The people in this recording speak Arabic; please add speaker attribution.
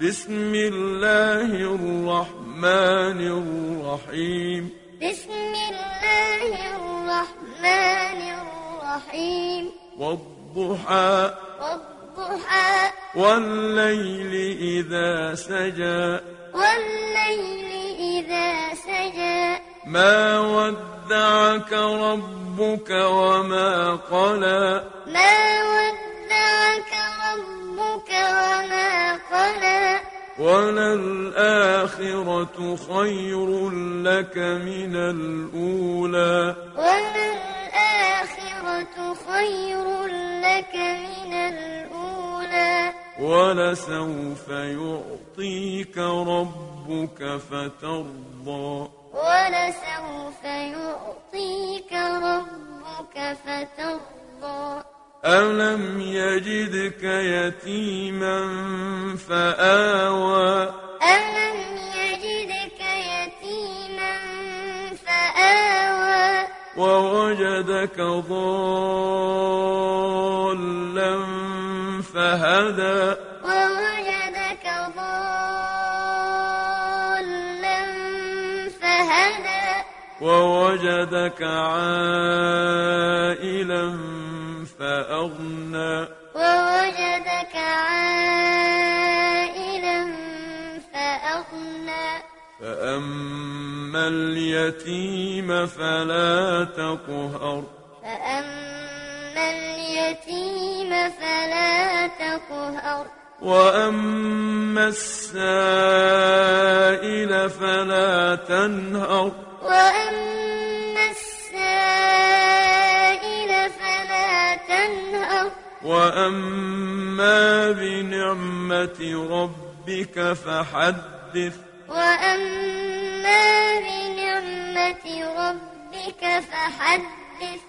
Speaker 1: بسم الله الرحمن الرحيم
Speaker 2: بسم الله الرحمن الرحيم
Speaker 1: والضحى
Speaker 2: والضحى
Speaker 1: والليل إذا سجى
Speaker 2: والليل إذا سجى
Speaker 1: ما ودعك ربك وما قلى
Speaker 2: ما ودعك ربك وما قلى
Speaker 1: وللآخرة خير لك من الأولى
Speaker 2: وللآخرة خير لك من الأولى
Speaker 1: ولسوف يعطيك ربك فترضى
Speaker 2: ولسوف يعطيك ربك فترضى
Speaker 1: ألم يجدك يتيما فآوى
Speaker 2: ألم يجدك يتيما فآوى
Speaker 1: ووجدك ضالا فهدى
Speaker 2: ووجدك ضالا فهدى
Speaker 1: ووجدك عائلا فأغنى
Speaker 2: ووجدك عائلا فأغنى
Speaker 1: فأما اليتيم فلا تقهر
Speaker 2: فأما اليتيم فلا تقهر
Speaker 1: وأما السائل فلا تنهر
Speaker 2: وأما السائل فلا تنهر
Speaker 1: وأما بنعمة ربك فحدث
Speaker 2: وأما بنعمة ربك فحدث